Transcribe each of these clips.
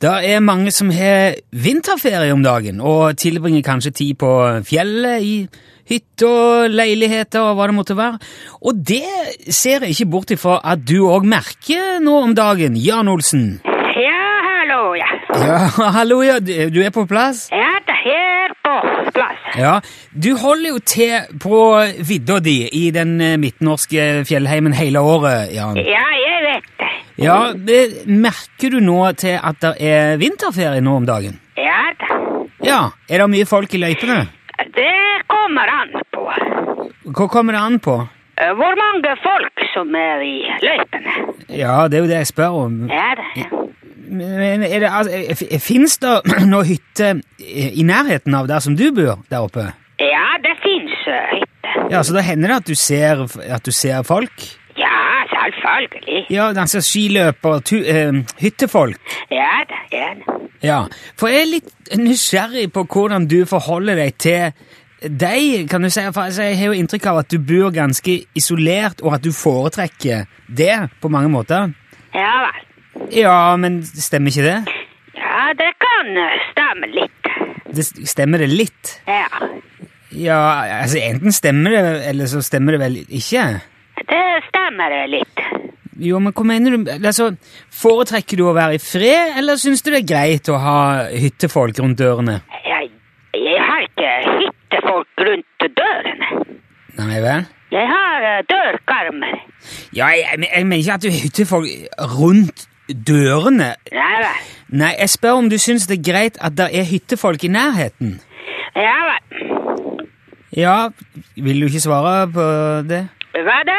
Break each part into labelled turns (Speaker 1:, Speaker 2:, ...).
Speaker 1: Det er mange som har vinterferie om dagen, og tilbringer kanskje tid på fjellet, i hytter, leiligheter og hva det måtte være. Og det ser jeg ikke bort ifra at du òg merker nå om dagen, Jan Olsen.
Speaker 2: Ja, hallo, ja.
Speaker 1: Ja, hallo, ja, du du er på plass?
Speaker 2: Ja, det er her på plass.
Speaker 1: Ja, du holder jo til på vidda di i den eh, midtnorske fjellheimen hele året, Jan.
Speaker 2: Ja, jeg vet det.
Speaker 1: Ja, det merker du nå til at det er vinterferie nå om dagen?
Speaker 2: Ja, da.
Speaker 1: Ja, er det mye folk i løypene?
Speaker 2: Det kommer an på
Speaker 1: Hva kommer det an på?
Speaker 2: eh, hvor mange folk som er i løypene.
Speaker 1: Ja, det er jo det jeg spør om.
Speaker 2: Ja, da.
Speaker 1: Men er det, altså, fins det noen hytte i nærheten av der som du bor, der oppe?
Speaker 2: Ja, det finnes eh, hytte.
Speaker 1: Ja, så da hender det at du ser, at du ser folk?
Speaker 2: Ja, selvfølgelig.
Speaker 1: Ja, altså skiløper, tu, eh, hyttefolk?
Speaker 2: Ja, da. Ja, da.
Speaker 1: Ja, for jeg er litt nysgjerrig på hvordan du forholder deg til deg, kan du si. For altså, jeg har jo inntrykk av at du bor ganske isolert, og at du foretrekker det på mange måter.
Speaker 2: Ja, vel.
Speaker 1: Ja, men stemmer ikke det?
Speaker 2: Ja, det kan eh, stemme litt.
Speaker 1: det s- stemmer det litt?
Speaker 2: Ja,
Speaker 1: Ja, altså enten stemmer det, eller så stemmer det vel ikke.
Speaker 2: det stemmer eh, litt.
Speaker 1: Jo, men hva mener du? Altså, foretrekker du å være i fred, eller syns du det er greit å ha hyttefolk rundt dørene?
Speaker 2: Jeg, jeg har ikke hyttefolk rundt dørene.
Speaker 1: Nei vel?
Speaker 2: Jeg har eh, dørkarmer.
Speaker 1: Ja, jeg, jeg, jeg mener ikke at du er hyttefolk rundt dørene.
Speaker 2: Ja vel.
Speaker 1: Nei, jeg spør om du syns det er greit at det er hyttefolk i nærheten.
Speaker 2: Ja vel.
Speaker 1: Ja, vil du ikke svare på det?
Speaker 2: Hva da?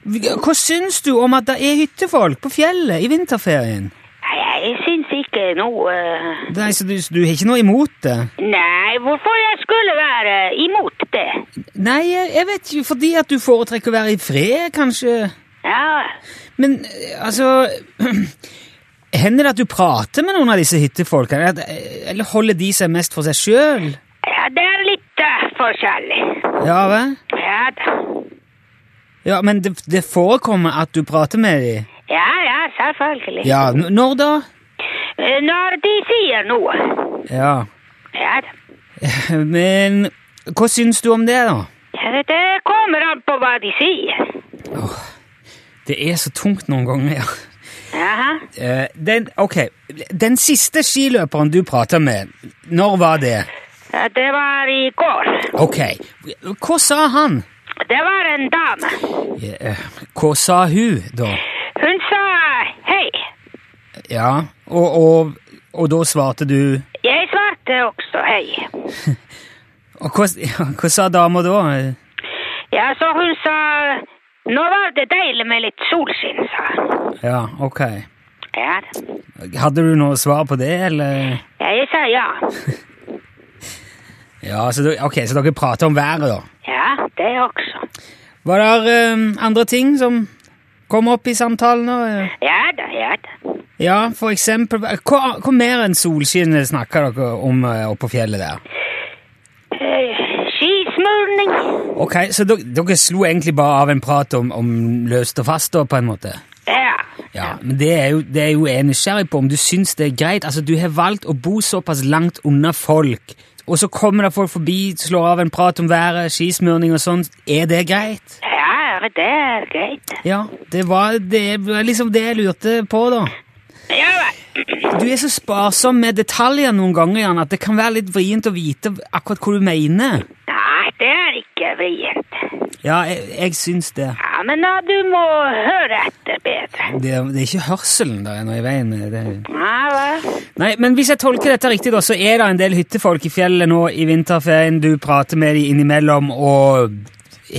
Speaker 1: Hva syns du om at det er hyttefolk på fjellet i vinterferien?
Speaker 2: Nei, Jeg syns ikke noe eh,
Speaker 1: Nei, så du, du har ikke noe imot det?
Speaker 2: Nei, hvorfor jeg skulle være imot det?
Speaker 1: Nei, jeg jeg vet ikke, fordi at du foretrekker å være i fred, kanskje?
Speaker 2: Ja,
Speaker 1: Men eh, altså Hender det at du prater med noen av disse hyttefolkene? At- eh, Eller holder de seg mest for seg sjøl?
Speaker 2: ja det er litt eh, forskjellig.
Speaker 1: Ja vel?
Speaker 2: Ja da.
Speaker 1: Ja, men det, det forekommer at du prater med dem?
Speaker 2: Ja, ja, selvfølgelig.
Speaker 1: Ja, n- når da?
Speaker 2: Eh, Når de sier noe.
Speaker 1: Ja,
Speaker 2: Ja da.
Speaker 1: men hva syns du om det, da?
Speaker 2: Ja, Det kommer an på hva de sier.
Speaker 1: Det er så tungt noen ganger, ja.
Speaker 2: Jaha.
Speaker 1: Eh, Den, ok, den siste skiløperen du prater med, når var det?
Speaker 2: Ja, Det var i går.
Speaker 1: Ok, hva sa han?
Speaker 2: Det var en dame.
Speaker 1: Eh, Hva sa hun, da?
Speaker 2: Hun sa hei.
Speaker 1: Ja, og, og, og da svarte du
Speaker 2: Jeg svarte også hei.
Speaker 1: og hva, ja, hva sa dama da?
Speaker 2: Ja, så hun sa Nå var det deilig med litt solskinn, sa hun.
Speaker 1: Ja, ok.
Speaker 2: Ja.
Speaker 1: Hadde du noe svar på det, eller?
Speaker 2: ja, jeg sa ja.
Speaker 1: Ja, så, du- ok, så dere prater om været, da?
Speaker 2: Ja, det også.
Speaker 1: Var det eh, andre ting som kom opp i samtalen? og, eh,
Speaker 2: Ja da, ja da.
Speaker 1: Ja, for eksempel Hva, hva mer enn solskinn snakker dere om eh, oppe på fjellet der?
Speaker 2: Eh, skismurning.
Speaker 1: Ok, Så dere, dere slo egentlig bare av en prat om, om løst og fast, da, på en måte?
Speaker 2: Ja.
Speaker 1: Ja, men det er, jo, det er jo jeg nysgjerrig på, om du syns det er greit. Altså, Du har valgt å bo såpass langt unna folk, og så kommer det folk forbi, slår av en prat om været, skismurning og sånn. Er det greit?
Speaker 2: Ja, det er greit.
Speaker 1: Ja, det var, det var liksom det jeg lurte på, da.
Speaker 2: Ja vel.
Speaker 1: Du er så sparsom med detaljer noen ganger, Jan, at det kan være litt vrient å vite akkurat hva du mener.
Speaker 2: Nei, det er ikke vrient.
Speaker 1: Ja, jeg, jeg syns det.
Speaker 2: Ja, men da, du må høre etter bedre.
Speaker 1: Det, er- det er ikke hørselen der er noe i veien med. Det.
Speaker 2: Ja vel.
Speaker 1: Nei, men hvis jeg tolker dette riktig, da, så er det en del hyttefolk i fjellet nå i vinterferien. Du prater med dem innimellom og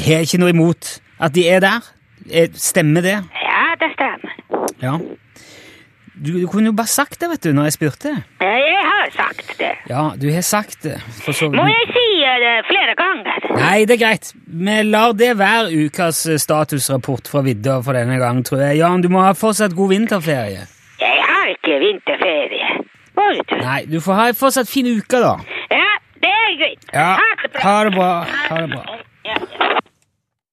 Speaker 1: har ikke noe imot at de er der. Eh, Stemmer det?
Speaker 2: Ja, det stemmer.
Speaker 1: Ja. Du, du kunne jo bare sagt det, vet du, når jeg spurte.
Speaker 2: Ja, Jeg har sagt det.
Speaker 1: Ja, du har sagt det. For så
Speaker 2: Må jeg si eh, det flere ganger?
Speaker 1: Nei, det er greit. Vi lar det være ukas eh, statusrapport fra vidda for denne gang, tror jeg. Jan, du må ha fortsatt god vinterferie.
Speaker 2: Jeg har ikke vinterferie. Oi, du.
Speaker 1: Nei, du får ha en fortsatt fin uke, da.
Speaker 2: Ja, det er greit. Ha det bra.
Speaker 1: Ha det bra. Ha det bra.